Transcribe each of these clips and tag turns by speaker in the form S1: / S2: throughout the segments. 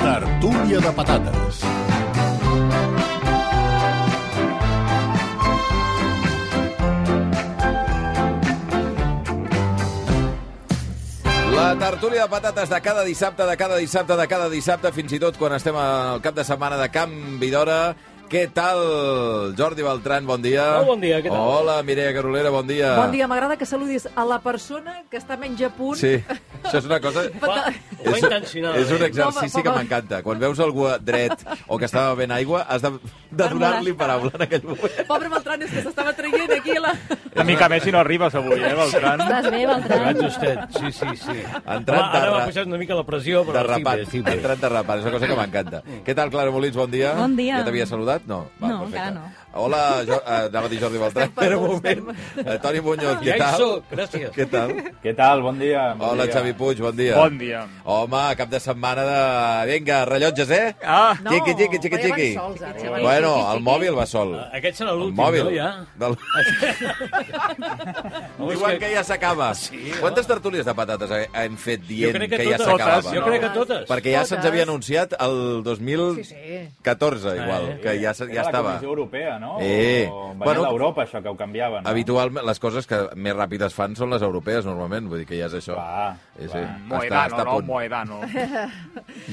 S1: Tertúlia de patates.
S2: La tertúlia de patates de cada dissabte, de cada dissabte, de cada dissabte, fins i tot quan estem al cap de setmana de canvi d'hora. Què tal, Jordi Beltran? Bon dia.
S3: Molt bon dia, què tal?
S2: Hola, Mireia Carolera, bon dia.
S4: Bon dia, m'agrada que saludis a la persona que està menys a punt.
S2: Sí, això és una cosa...
S3: Va, ho va
S2: És,
S3: intencionar.
S2: és un
S3: eh?
S2: exercici
S4: Home,
S2: que
S4: home.
S2: m'encanta. Quan veus algú dret o que està bevent aigua, has de, de donar-li paraula en aquell moment.
S4: Pobre Beltrán, és que s'estava traient aquí a la...
S5: Una mica més si no arribes avui, eh, Beltran?
S6: Estàs bé,
S7: Vaig
S6: Beltran?
S7: justet, sí, sí, sí.
S2: Entrant
S3: Home, ara
S2: de-
S3: m'ha pujat una mica la pressió, però
S2: De
S3: estic
S2: rapat,
S3: bé, estic bé.
S2: entrant de rapat, és una cosa que m'encanta. Què tal, Clara Molins, bon dia?
S8: Bon dia.
S2: Ja t'havia saludat? No,
S8: No,
S2: perfecte.
S8: encara no.
S2: Hola, jo, eh, anava a dir Jordi Beltrán,
S4: Estem
S2: per un
S4: perduts,
S2: moment. Eh, Toni Muñoz,
S3: Ja
S2: què
S3: hi
S2: tal?
S3: soc, gràcies.
S2: Què tal?
S5: Què tal? Bon dia. Bon
S2: Hola,
S5: dia.
S2: Xavi Puig, bon dia.
S5: Bon dia.
S2: Home, cap de setmana de... Vinga, rellotges, eh?
S5: Ah,
S4: No,
S2: xiqui, xiqui, xiqui,
S4: allà van
S2: xiqui.
S4: sols, ara.
S2: Bueno, el mòbil va sol.
S3: Eh, Aquest serà
S2: El
S3: l'últim,
S2: mòbil.
S3: no, ja?
S2: Del...
S3: No, és
S2: Diuen
S3: que-
S2: que ja s'acaba. Quantes tertúlies de patates he- hem fet
S3: Jo
S2: dient
S3: crec
S2: que,
S3: que,
S2: ja
S3: totes,
S2: s'acabava?
S3: jo
S2: no?
S3: crec que totes.
S2: Perquè ja se'ns
S4: Totes.
S2: havia anunciat el 2014,
S4: Sí, sí.
S2: igual,
S3: Eh,
S2: que ja, se- ja
S5: Era la
S2: estava.
S5: Comissió Europea, no?
S2: Eh,
S5: O venia
S2: bueno,
S5: bueno, d'Europa, això, que ho canviaven. No?
S2: Habitualment, les coses que més ràpides fan són les europees, normalment, vull dir que ja és això.
S5: Va,
S2: sí, sí.
S5: va.
S2: Està, està a punt.
S5: Moedano.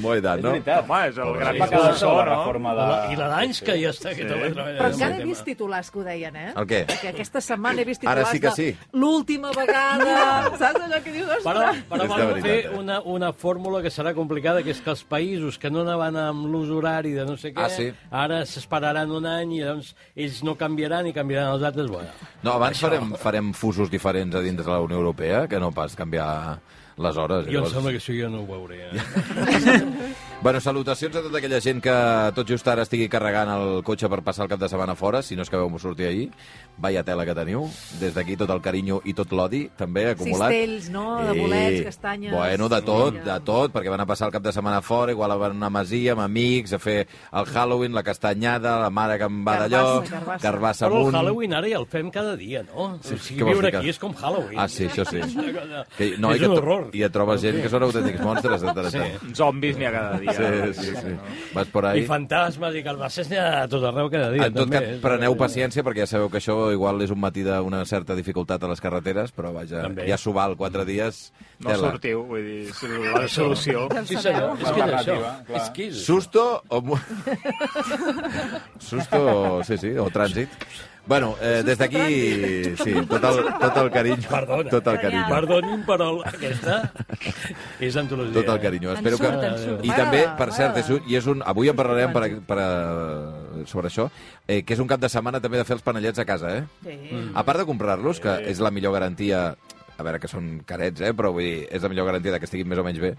S2: Moeda,
S5: És
S2: no?
S5: veritat.
S7: Home, és el
S5: Sí,
S7: gran
S5: sí,
S7: paquet de
S5: sí,
S7: so,
S5: la
S7: no?
S5: reforma
S3: La,
S5: de...
S3: I la d'anys que ja està que també treballant.
S4: Però encara he vist titulars que ho deien, eh?
S2: El què?
S4: Que aquesta setmana he vist
S2: Ara
S4: titulars
S2: sí que
S4: de
S2: sí.
S4: L'última vegada... Saps allò que dius?
S3: Però,
S4: Ostres,
S3: però
S2: És de
S3: van
S2: veritat,
S3: fer
S2: eh?
S3: una, una fórmula que serà complicada, que és que els països que no anaven amb l'ús horari de no sé què,
S2: Ah, sí?
S3: ara s'esperaran un any i llavors ells no canviaran i canviaran els altres. Bueno,
S2: No, abans farem, farem fusos diferents a dintre de la Unió Europea, que no pas canviar les hores.
S3: jo em sembla que això jo no ho veuré. Eh?
S2: Bueno, salutacions a tota aquella gent que tot just ara estigui carregant el cotxe per passar el cap de setmana fora, si no és que veu-m'ho sortir ahir. Vaya tela que teniu. Des d'aquí tot el carinyo i tot l'odi, també, acumulat.
S4: Cistells, no? De bolets, castanyes.
S2: Bueno, de tot,
S4: Cebolla.
S2: de tot, perquè van a passar el cap de setmana fora, igual van a una masia amb amics, a fer el Halloween, la castanyada, la mare que em va d'allò,
S4: Carbassa, carbassa.
S2: carbassa
S3: Però el
S2: amunt...
S3: Halloween ara ja el fem cada dia, no?
S2: Sí,
S3: o
S2: què
S3: sigui,
S2: vols
S3: viure
S2: dir que-
S3: aquí és com Halloween.
S2: Ah, sí, això sí.
S3: Que,
S2: Que, no,
S3: és
S2: i que
S3: un
S2: tro-
S3: horror.
S2: I et trobes gent que són autèntics monstres de tant en tant.
S5: Zombis n'hi ha cada dia.
S2: Sí, sí, sí. Vas por
S3: I
S2: ahí.
S3: fantasmes i calbasses n'hi ha a tot arreu cada dia.
S2: En tot
S3: també,
S2: cas,
S3: eh?
S2: preneu paciència, perquè ja sabeu que això igual és un matí d'una certa dificultat a les carreteres, però vaja,
S3: També. Mm.
S2: ja s'ho val, quatre dies...
S7: No
S2: tela.
S7: sortiu, vull dir, si la solució...
S3: Sí, senyor, és que és això.
S5: Alternativa, clar.
S3: És que és...
S2: Susto o... mu- Susto, o- sí, sí, o trànsit. Bueno, eh, des d'aquí, sí, tot el, tot el carinyo.
S3: Perdona.
S2: Tot el carinyo.
S3: Perdonin, però aquesta és antologia.
S2: Tot el carinyo.
S8: En
S2: Espero
S8: surt, en
S2: que...
S8: surt.
S2: I també, per cert, és un, i és un, avui en parlarem per, per, eh, sobre això, eh, que és un cap de setmana també de fer els panellets a casa, eh?
S4: Sí.
S2: A part de comprar-los, que és la millor garantia... A veure, que són carets, eh? Però vull dir, és la millor garantia de que estiguin més o menys bé.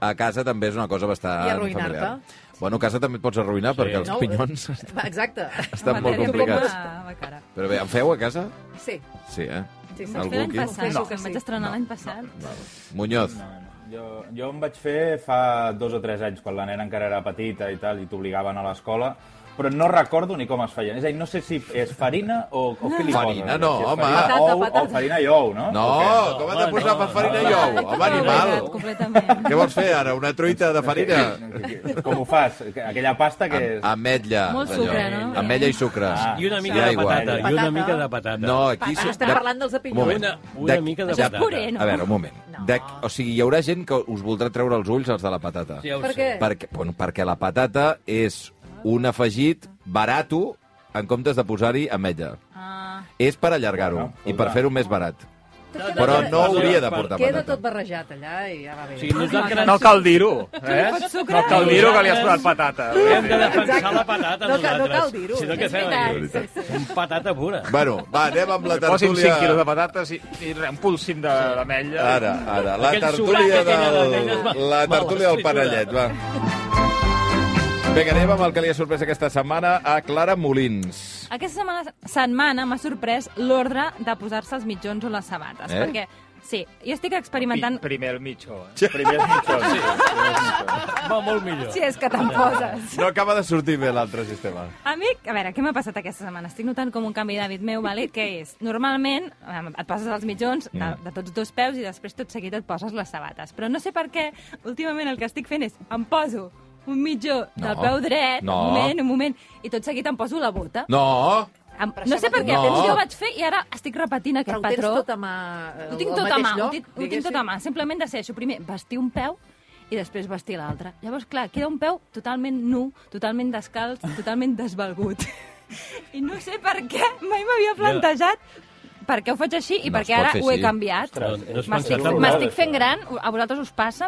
S2: A casa també és una cosa bastant
S4: I arruïnar-te.
S2: familiar. Bueno, a casa també et pots arruïnar sí. perquè els
S4: No,
S2: pinyons
S4: Va, Exacte.
S2: estan molt
S8: Matèria prima
S2: complicats.
S8: a la cara.
S2: Però bé, en feu a casa?
S4: Sí.
S2: Sí, eh?
S4: Sí, sí.
S2: Algú
S8: Fer l'any
S2: aquí?
S8: passat,
S4: No.
S8: que em vaig estrenar l'any passat.
S2: Muñoz.
S5: No, no. Jo, jo em vaig fer fa dos o tres anys, quan la nena encara era petita i tal, i t'obligaven a l'escola, però no recordo ni com es feien. És a dir, no sé si és farina o, o què li
S2: Farina
S5: posen.
S2: no,
S5: si és
S2: home.
S5: Farina,
S4: Patata,
S5: ou,
S4: patata.
S5: O farina i ou, no?
S2: No,
S5: O
S2: com has
S3: home,
S2: de posar
S3: no,
S2: per farina i
S3: no.
S2: ou? Home, animal!
S8: Completament.
S2: Què vols fer ara? Una truita de farina?
S5: què? Com ho fas? Aquella pasta que és...
S2: Am- Ametlla.
S8: Molt
S2: allò.
S8: sucre, no?
S2: Ametlla i sucre.
S5: Ah.
S3: I una mica
S2: I
S3: de
S2: aigua.
S3: patata. I una
S4: Patata.
S3: mica de patata.
S2: No, aquí...
S4: Patata,
S2: sí-
S4: estem
S2: de-
S4: parlant dels de pinyó.
S2: Un moment.
S3: Una- una
S2: De-
S3: mica de
S2: de-
S3: patata. Puré,
S8: no?
S2: A veure, un moment.
S4: No.
S2: De, o sigui, hi haurà gent que us voldrà treure els ulls, els de la patata.
S3: Ja ho
S4: Per
S3: sé.
S4: què?
S2: Perquè, bueno, perquè la patata és un afegit barato en comptes de posar-hi ametlla.
S8: Ah,
S2: És per allargar-ho
S5: Bueno,
S2: i per fer-ho més barat.
S4: Tot queda-
S2: Però no
S4: queda-
S2: hauria de portar
S4: Queda
S2: patata.
S4: tot barrejat allà i ja va bé.
S3: Sí, nosaltres-
S7: No cal dir-ho, eh?
S8: pots sucrar.
S7: No cal dir-ho que li has posat patata.
S3: Hem de defensar
S4: Exacte.
S3: la patata,
S4: No cal-
S3: nosaltres.
S4: no cal dir-ho.
S3: Si no, què
S4: És
S3: fem
S4: veritat,
S3: aquí?
S4: sí,
S3: Som patata pura.
S2: Bueno, va, anem amb la
S7: Posi'm 5 quilos de
S2: tertúlia...
S7: patates i, i res, un polsim de- d'ametlla.
S2: Ara, ara, la
S3: Aquell
S2: tertúlia
S3: sobrac que tenen
S2: del...
S3: les nenes, va,
S2: La
S3: mala
S2: tertúlia del
S3: escritura.
S2: Parellet, va. Vinga, anem amb el que li ha sorprès aquesta setmana a Clara Molins.
S8: Aquesta setmana, setmana m'ha sorprès l'ordre de posar-se els mitjons o les sabates,
S2: Eh?
S8: perquè sí, jo estic
S7: Pi-
S8: experimentant...
S7: Primer el mitjó. Eh?
S5: Primer és mitjons.
S3: Va molt millor.
S8: Si és que te'n poses.
S2: No acaba de sortir bé l'altre sistema.
S8: A mi, a veure, què m'ha passat aquesta setmana? Estic notant com un canvi d'hàbit meu, vale? que és, normalment eh, et poses els mitjons de,
S2: Mm.
S8: de tots dos peus i després tot seguit et poses les sabates. Però no sé per què, últimament el que estic fent és, em poso un mitjó del
S2: No.
S8: peu dret,
S2: No.
S8: un moment, un moment, i tot seguit em poso la bota.
S2: No!
S8: Em, no sé per què,
S2: No.
S8: jo ho vaig fer i ara estic repetint
S4: Però
S8: aquest
S4: ho tens
S8: patró.
S4: tot a mà... eh,
S8: Ho tinc
S4: al
S8: tot a
S4: mateix
S8: mà, ho
S4: lloc,
S8: tinc, ho tinc
S4: diguéssim?
S8: tot a mà. Simplement decideixo primer vestir un peu i després vestir l'altre. Llavors, clar, queda un peu totalment nu, totalment descalç, totalment desvalgut. I no sé per què mai m'havia plantejat per què ho faig així i
S2: No
S8: per
S2: es
S8: què
S2: pot
S8: ara
S2: fer
S8: ho he
S2: així.
S8: canviat.
S3: No, no es pensa
S8: M'estic
S3: tan
S8: m'estic
S5: això.
S8: fent gran, a vosaltres us passa?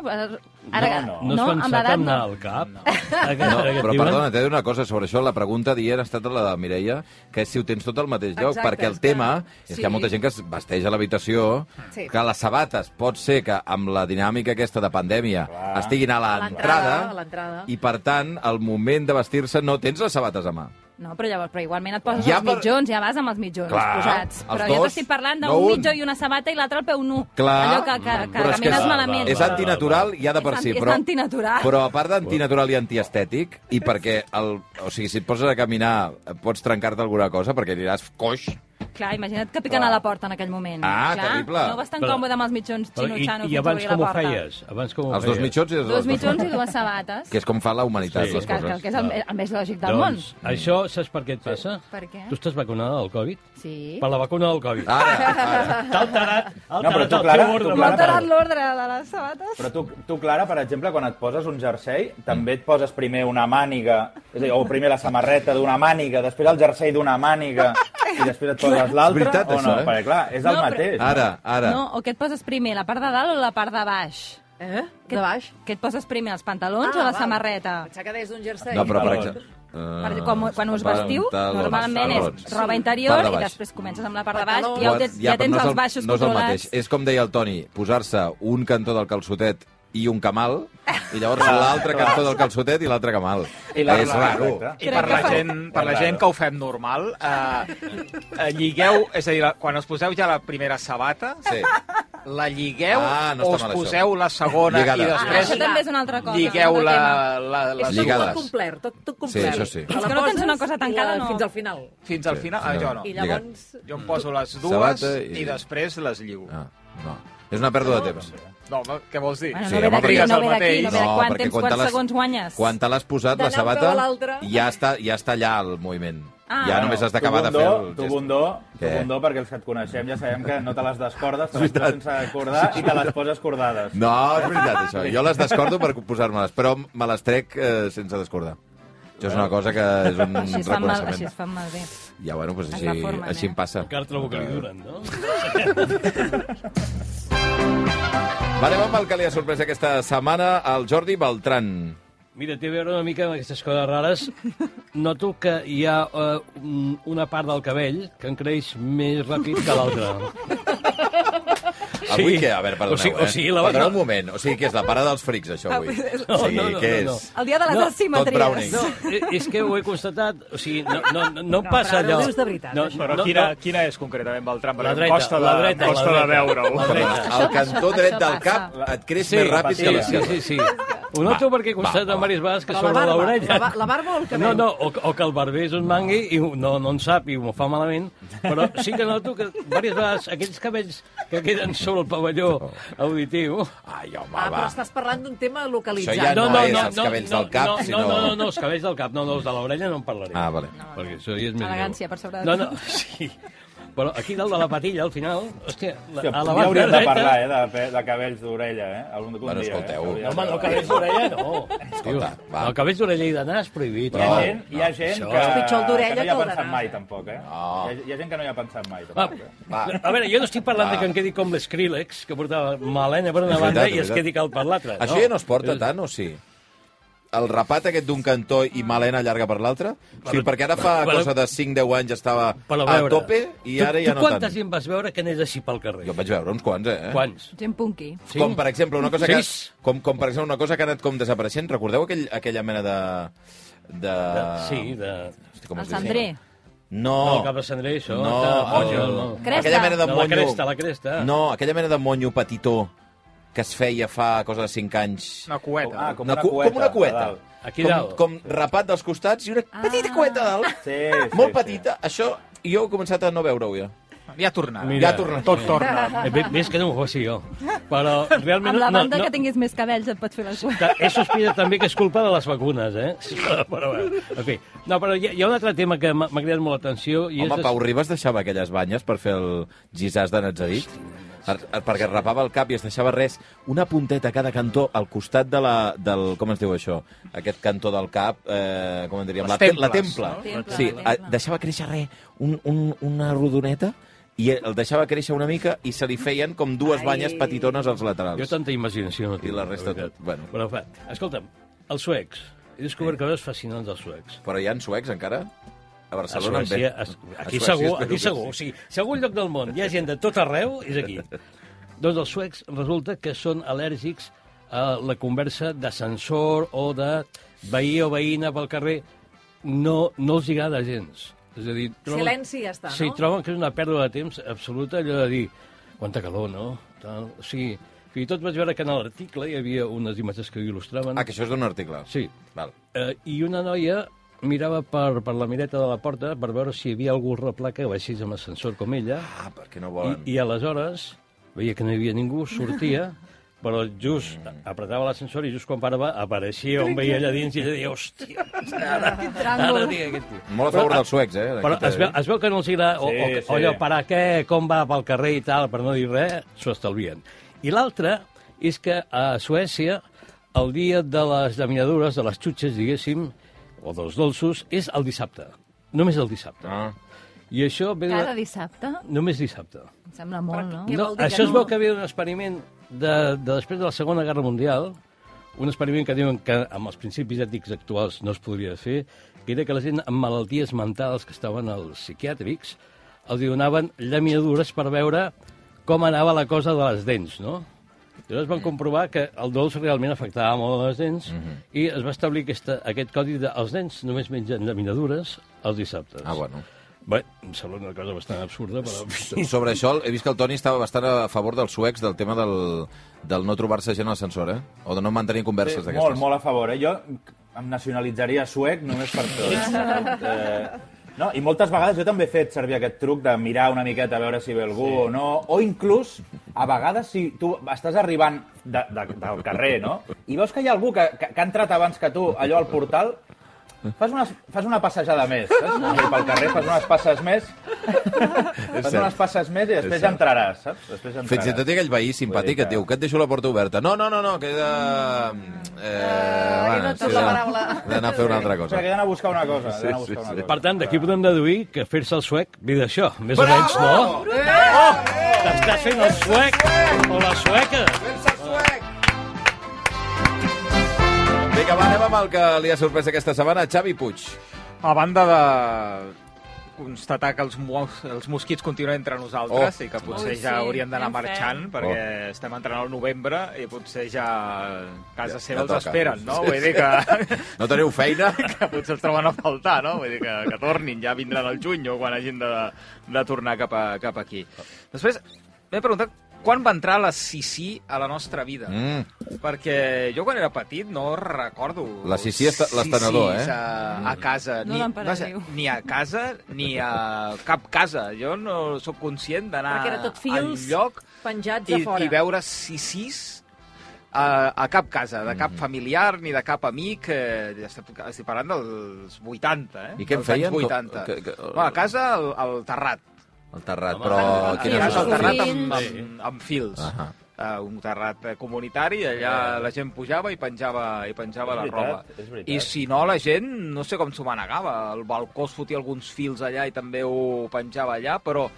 S8: Ara,
S5: No,
S3: No, no es
S8: amb
S3: pensat
S8: l'edat
S3: en anar
S8: no.
S3: al cap? No. Aquest,
S2: No, però perdona, t'he de dir una cosa sobre això. La pregunta d'ahir ha estat la de Mireia, que és si ho tens tot al mateix lloc,
S4: Exacte,
S2: perquè el
S4: és que-
S2: tema és
S4: sí.
S2: que hi ha molta gent que es vesteix a l'habitació,
S4: Sí.
S2: que les sabates pot ser que amb la dinàmica aquesta de pandèmia
S5: Clar.
S2: estiguin a
S4: A l'entrada, a
S2: l'entrada,
S4: l'entrada.
S2: i per tant, al moment de vestir-se no tens les sabates a mà.
S8: No, però llavors, però igualment et poses
S2: Ja
S8: els
S2: per-
S8: mitjons, ja vas amb els mitjons
S2: Clar,
S8: posats.
S2: els
S8: Però jo
S2: dos,
S8: t'estic parlant d'un
S2: no un.
S8: mitjó i una sabata i l'altre el peu nu.
S2: Clar,
S8: Allò que, que, que
S2: però és que
S8: camines
S2: és-
S8: malament.
S2: És antinatural ja de per
S8: És
S2: si.
S8: anti- és
S2: però,
S8: antinatural.
S2: Però a part d'antinatural i antiestètic, i perquè, el, o sigui, si et poses a caminar eh, pots trencar-te alguna cosa perquè diràs coix.
S8: Clar, imagina't que piquen
S2: Clar.
S8: a la porta en aquell moment.
S2: Ah,
S8: Clar,
S2: terrible.
S8: No vas tan
S3: Però-
S8: còmode amb els mitjons
S3: Però, i,
S8: xino-xano
S3: I
S8: fins a
S3: abans
S8: obrir la
S3: com ho
S8: porta.
S3: feies? Abans com ho
S2: Els
S3: feies?
S2: dos mitjons i les
S8: Dos
S2: dues
S8: mitjons i
S2: sabates.
S8: dues sabates.
S2: Que és com fa la humanitat,
S3: Sí.
S8: sí,
S2: les
S8: que, que,
S2: coses.
S8: que és el, el més lògic del
S3: doncs,
S8: món.
S3: això saps per què et passa?
S8: Per què?
S3: Tu estàs vacunada del Covid?
S8: Sí.
S3: Per la vacuna del Covid.
S2: Ara, ara.
S3: T'ha alterat, ha
S5: Ah, No, però
S3: alterat
S5: tu,
S3: el
S5: Clara,
S3: teu
S5: tu,
S3: ordre.
S8: M'ha
S5: Clara,
S3: mental.
S8: alterat l'ordre de les sabates.
S5: Però tu, tu, Clara, per exemple, quan et poses un jersei, també et poses primer una màniga, és a dir, o primer la samarreta d'una màniga, després el jersei d'una màniga, i després et poses l'altra,
S2: És veritat,
S5: o no?
S2: això, eh? Ah,
S5: Perquè, clar, és el
S8: No, però-
S5: mateix.
S2: Ara, ara.
S8: No, o què et poses primer, la part de dalt o la part de baix?
S4: Eh? De baix?
S8: Què et poses primer, els pantalons
S4: Ah,
S8: o la
S4: val.
S8: samarreta?
S4: Pensava que deies d'un jersei.
S2: No, però per
S5: Pantalons.
S2: exemple... eh,
S8: Per, quan, quan us vestiu,
S2: Pantalons,
S8: normalment
S2: pantalons.
S8: és roba
S2: Part
S8: interior
S2: de
S8: i
S2: baix.
S8: després comences amb la part de baix i
S4: Pantalons.
S8: ja, ho tens, ja,
S2: però
S8: tens
S2: no és
S8: els
S2: el-
S8: baixos
S2: no és el
S8: controlats.
S2: mateix. És com deia el Toni, posar-se un cantó del calçotet i un camal, i llavors l'altre cantó del calçotet i l'altre camal.
S7: I l'altre,
S2: és raro.
S5: correcte.
S7: I per la, gent, per la gent que ho fem normal, eh, eh, lligueu, és a dir, la- quan us poseu ja la primera sabata,
S2: Sí.
S7: la lligueu
S2: Ah, no
S7: o
S2: està
S7: us
S2: mal, això.
S7: poseu la segona
S2: Lligada.
S7: i
S8: Ah,
S7: després
S8: això també és una altra cosa.
S7: lligueu
S8: un altre
S7: la,
S8: tema.
S7: la, la,
S4: És
S7: la
S2: Lligades.
S4: tot complet, tot, tot complet.
S2: això sí.
S4: Te
S8: És
S4: la
S8: que no tens
S4: poses
S8: una cosa
S4: i la-
S8: tancada, no.
S4: Fins al final.
S7: fins al final. Ah, jo no.
S4: I
S2: Lligat.
S4: llavors...
S7: Jo em poso les dues
S2: Sabata i-
S7: i... després les lliu.
S2: Ah, no. És una pèrdua de temps.
S7: No, home, què vols dir?
S8: Bueno,
S2: Sí,
S8: no ve
S2: home,
S8: d'aquí,
S2: perquè-
S8: no ve d'aquí, no ve d'aquí.
S2: No,
S8: Quant
S2: perquè
S8: temps,
S2: quan te
S8: quants
S2: l'has-
S8: segons guanyes?
S2: Quan te l'has posat, la
S4: D'anar un peu
S2: sabata,
S4: a l'altre.
S2: ja està, ja està allà el moviment.
S8: Ah.
S2: Ja
S8: Bueno,
S2: només doncs has d'acabar de
S5: tu
S2: fer
S5: bundó,
S2: el
S5: Tu
S2: gest.
S5: bundó, tu
S2: Què?
S5: bundó, perquè els que et coneixem ja sabem que no te les descordes, te les poses
S2: veritat.
S5: sense acordar i te les poses cordades.
S2: No, és veritat, això. Jo les descordo per posar-me-les, però me les trec eh, sense descordar. Això és una cosa que és un
S8: Així es, fan mal, així
S2: reconeixement.
S8: es fan malbé.
S2: Ja, bueno, doncs
S8: Es
S2: així,
S8: va formant,
S2: així
S8: eh?
S2: em passa.
S3: Encara trobo que li duren, no?
S2: Va, anem amb el que li ha sorprès aquesta setmana al Jordi Beltran.
S3: Mira, té a veure una mica amb aquestes coses rares. Noto que hi ha eh, un- una part del cabell que em creix més ràpid que l'altra.
S2: Avui què? A veure, perdoneu,
S3: O sigui,
S2: eh?
S3: o sigui, la...
S2: Perdona un moment. O sigui, que és la para dels frics, això,
S8: Ah,
S2: avui.
S3: no,
S2: sí,
S3: no, no,
S2: què
S3: no, no.
S2: és?
S8: El dia de les
S3: No,
S2: Todd
S8: asimetries.
S2: Browning.
S3: No, eh, és que ho he constatat. O sigui, no, no, no, no em passa
S4: però ara ho
S3: allò...
S4: dius de veritat, això.
S7: Però quina, quina és concretament, Beltran? Perquè
S3: La
S7: em
S3: dreta,
S7: costa de,
S3: la dreta,
S7: em costa
S3: la
S7: de
S3: dreta.
S7: veure-ho.
S3: La dreta.
S2: El cantó
S8: passa,
S2: dret
S8: això
S2: del
S8: passa.
S2: cap eh, et creix més ràpid que
S3: sí, sí,
S2: l'esquerra.
S3: sí, sí. Ho noto perquè he constatat
S2: va, va.
S3: diverses vegades que
S4: Però la
S3: sobre
S4: barba,
S3: l'orella...
S4: la ba- la barba o el cabell?
S3: No, no, o, o que el barber és un mangui i ho- no, no en sap i ho fa malament, però sí que noto que diverses vegades aquells cabells que queden sobre el pavelló auditiu...
S2: Ai, home,
S4: Ah, però
S2: va.
S4: estàs parlant d'un tema localitzat.
S2: Això ja no,
S3: no,
S2: és
S3: no,
S2: els cabells
S3: no,
S2: del cap,
S3: no,
S2: sinó...
S3: No, no, no, no, els cabells del cap, no, no, els de l'orella no en parlaré.
S2: Ah, vale.
S3: Perquè això ja és més greu.
S8: Elegància per sobre de
S3: No,
S8: tot.
S3: no, sí. Però aquí dalt de la patilla, al final, hòstia, la,
S5: Hòstia,
S3: a la
S5: ja
S3: banda
S5: hauríem de
S3: dreta-
S5: parlar, eh, de, pe- de cabells d'orella, eh? Algun dia,
S2: Bueno, escolteu.
S5: Eh?
S3: No, home, no, cabells d'orella, no.
S2: Escolta, va.
S3: El cabells d'orella i de nas, prohibit. eh?
S5: Hi ha
S2: No,
S5: gent, hi ha gent
S3: Això-
S5: que,
S4: És pitjor el d'orella
S5: que no hi
S4: que
S5: ha
S4: el de
S5: pensat
S4: nas.
S5: mai, tampoc, eh?
S2: No.
S5: Hi, ha, hi ha gent que no hi ha pensat mai,
S3: Va,
S5: tampoc. eh?
S2: Va.
S3: a veure, jo no estic parlant
S2: Va.
S3: de que em quedi com l'Skrillex, que portava melena per una
S2: És veritat,
S3: banda
S2: és
S3: i es
S2: veritat.
S3: quedi cal per l'altra.
S2: Això ja no es porta tant, o sí? El rapat aquest d'un cantó i melena llarga per l'altre? O sigui, perquè ara fa
S3: però-
S2: cosa de 5-10 anys estava
S3: Però a
S2: a
S3: veure,
S2: tope i ara
S3: tu,
S2: ja
S3: tu
S2: no
S3: quanta
S2: tant.
S3: gent vas veure que anés així pel carrer?
S2: Jo en vaig veure uns quants, eh?
S3: Quants?
S8: Gent punky.
S3: Sí?
S2: Com, per exemple, una cosa que,
S3: Sis.
S2: com, com, per exemple, una cosa que ha anat com desapareixent. Recordeu aquell, aquella mena de... de...
S3: Sí, de...
S2: Hosti, com
S8: El
S2: es diu?
S8: cendrer.
S2: Ah. No.
S3: No, el cap de cendrer, això,
S2: No,
S3: que monjo,
S2: el...
S3: no.
S8: Tota Cresta.
S2: Aquella mena de
S3: No, la
S2: monyo...
S3: cresta, la cresta.
S2: No, aquella mena de monyo petitó que es feia fa cosa de 5 anys.
S7: Una coeta.
S5: Ah, com
S2: Una
S5: una
S2: cu-
S5: cueta.
S2: com una cueta.
S5: a dalt.
S3: Aquí
S2: com,
S3: dalt. Ah.
S2: com rapat dels costats i una petita cueta a dalt.
S5: Sí, sí,
S2: Molt
S5: sí.
S2: petita. Això jo he començat a no veure-ho ja.
S7: Ja tornarà.
S3: Mira.
S2: ja ha tornat.
S7: Tot torna.
S3: Eh, bé- Més que no ho faci jo. Però realment...
S8: Ah. Amb la
S3: no,
S8: banda
S3: no,
S8: que tinguis més cabells et pots fer la cua.
S3: Ta- He sospitat també que és culpa de les vacunes, eh? Sí, però, però, bueno, en fi. No, però hi ha, hi ha un altre tema que m'ha m'ha cridat molt l'atenció. i
S2: Home,
S3: és...
S2: Pau Ribas deixava aquelles banyes per fer el gisàs de Nazarit. Er- er- perquè es rapava el cap i es deixava res, una punteta a cada cantó al costat de la, del... Com es diu això? Aquest cantó del cap, eh, com en diríem?
S7: Les
S2: la, te-
S7: temples,
S2: la templa.
S8: no? Temple,
S2: sí,
S8: la templa.
S2: eh, deixava créixer res, un, un, una rodoneta, i el deixava créixer una mica i se li feien com dues banyes petitones als laterals.
S3: Jo tanta imaginació no tinc.
S2: I la resta
S3: veritat.
S2: tot, bueno.
S3: Però, fa, escolta'm, els suecs. He descobert coses fascinants dels suecs.
S2: Però hi ha suecs encara? A
S3: A
S2: Barcelona en
S3: Suècia,
S2: ve-
S3: a, aquí
S2: a Suècia
S3: segur,
S2: espero
S3: aquí
S2: que
S3: segur. O
S2: sí.
S3: sigui, si a algun lloc del món hi ha gent de tot arreu, és aquí. Doncs els suecs resulta que són al·lèrgics a la conversa d'ascensor o de veí o veïna pel carrer. No, no els hi agrada gens. És a dir,
S4: Silenci i ja està, no?
S3: Sí, troben que és una pèrdua de temps absoluta allò de dir quanta calor, no? Tal. O sigui, fins i tot vaig veure que en l'article hi havia unes imatges que ho il·lustraven.
S2: Ah, que això és d'un article.
S3: Sí.
S2: Val.
S3: Eh, I una noia mirava per, per la mireta de la porta per veure si hi havia algú a la placa que baixés amb ascensor com ella.
S2: Ah, perquè no volen...
S3: I, I aleshores veia que no hi havia ningú, sortia, però just apretava l'ascensor i just quan parava apareixia on veia allà dins i ella deia, hòstia, ara, ara
S8: Triangle.
S3: tinc aquest tio.
S2: Molt a favor dels suecs, eh?
S3: Però
S2: Aquest,
S3: es veu, es veu que no els agrada, o, o,
S5: Sí,
S3: o allò,
S5: sí.
S3: parar què, com va pel carrer i tal, per no dir res, s'ho estalvien. I l'altre és que a Suècia, el dia de les llaminadures, de les xutxes, diguéssim, o dels dolços, és el dissabte. Només el dissabte.
S2: Ah.
S3: I això ve...
S8: Cada
S3: De...
S8: dissabte?
S3: Només dissabte.
S8: Em sembla molt, no?
S4: Què
S3: No,
S4: vol dir que
S3: això es
S4: no?
S3: veu que ve d'un experiment de, de després de la Segona Guerra Mundial, un experiment que diuen que amb els principis ètics actuals no es podria fer, que era que la gent amb malalties mentals que estaven als psiquiàtrics els hi donaven llaminadures per veure com anava la cosa de les dents, no? Llavors van comprovar que el dolç realment afectava molt les dents mm
S2: Mhm.
S3: -hmm. i es va establir aquesta, aquest codi de els nens només mengen llaminadures els dissabtes.
S2: Ah, bueno.
S3: Bé, em sembla una cosa bastant absurda, però...
S2: So- Sobre això, he vist que el Toni estava bastant a favor dels suecs del tema del, del no trobar-se gent a l'ascensor, eh? O de no mantenir converses
S5: Sí,
S2: d'aquestes.
S5: molt, molt a favor. Eh? Jo em nacionalitzaria suec només per tot. eh, no, I moltes vegades jo també he fet servir aquest truc de mirar una miqueta a veure si ve algú sí. o no, o inclús, a vegades, si tu estàs arribant de, de, del carrer, no?, i veus que hi ha algú que, que, que ha entrat abans que tu allò al portal, fas una, fas una passejada més, saps? Allò Pel carrer fas unes passes més, fas
S2: cert.
S5: unes passes més i després
S2: cert.
S5: entraràs, saps? Després entraràs.
S2: Fins i tot hi ha aquell veí simpàtic que et diu que et deixo la porta oberta. No, no, no, no, que he de... Eh, bueno,
S4: tot
S2: sí,
S4: la
S2: de-
S4: paraula.
S2: He d'anar a fer una altra cosa.
S5: Espera, que he d'anar a buscar una cosa. he d'anar a buscar
S2: sí,
S5: una
S2: sí.
S5: cosa.
S3: Per tant, d'aquí podem deduir que fer-se el suec ve d'això, més o menys, no?
S5: Eh!
S3: Oh! T'estàs fent el suec o la sueca.
S2: Vinga, va, anem amb el que li ha sorprès aquesta setmana, Xavi Puig.
S7: A banda de constatar que els, mos, els mosquits continuen entre nosaltres
S2: Oh.
S7: oh. i que potser
S8: Ui,
S7: ja
S8: sí,
S7: hauríem d'anar
S8: ben
S7: marxant
S8: fred.
S7: perquè estem entrant al novembre i potser ja a casa
S2: Ja-
S7: ja, seva
S2: ja
S7: els
S2: toca.
S7: esperen, no?
S2: Sí,
S7: Vull dir que,
S2: No teniu feina?
S7: que potser els troben a faltar, no? Vull dir que, que tornin, ja vindran al juny o quan hagin de, de tornar cap, a, cap aquí. Després m'he preguntat quan va entrar la Sisi a la nostra vida?
S2: Mm.
S7: Perquè jo quan era petit no recordo...
S2: La Sissi és l'estenedor,
S7: Sissis
S2: eh?
S7: A, a casa.
S8: No l'emparareu.
S7: ni a casa, ni a cap casa. Jo no sóc conscient d'anar
S4: Perquè era tot
S7: al
S4: fils
S7: lloc
S4: penjats
S7: i,
S4: a fora.
S7: i veure Sissis a, a cap casa, de
S2: Mm.
S7: cap familiar ni de cap amic. Eh, ja estic, estic parlant dels 80, eh?
S2: I què en
S7: Dels anys
S2: feien? Com-
S7: 80.
S2: que- que-
S7: Bueno, a casa, al, al terrat.
S2: El terrat,
S3: Home,
S2: però...
S3: el
S2: quines
S7: Has
S8: sí,
S2: alternatives?
S7: alternat amb,
S3: Sí.
S7: amb, amb fils.
S2: Ahà.
S7: Uh, un terrat eh, comunitari, allà la gent pujava i penjava i penjava
S5: És
S7: la
S5: veritat,
S7: roba.
S5: és veritat.
S7: I si no, la gent, no sé com s'ho manegava. El balcó es fotia alguns fils allà i també ho penjava allà, però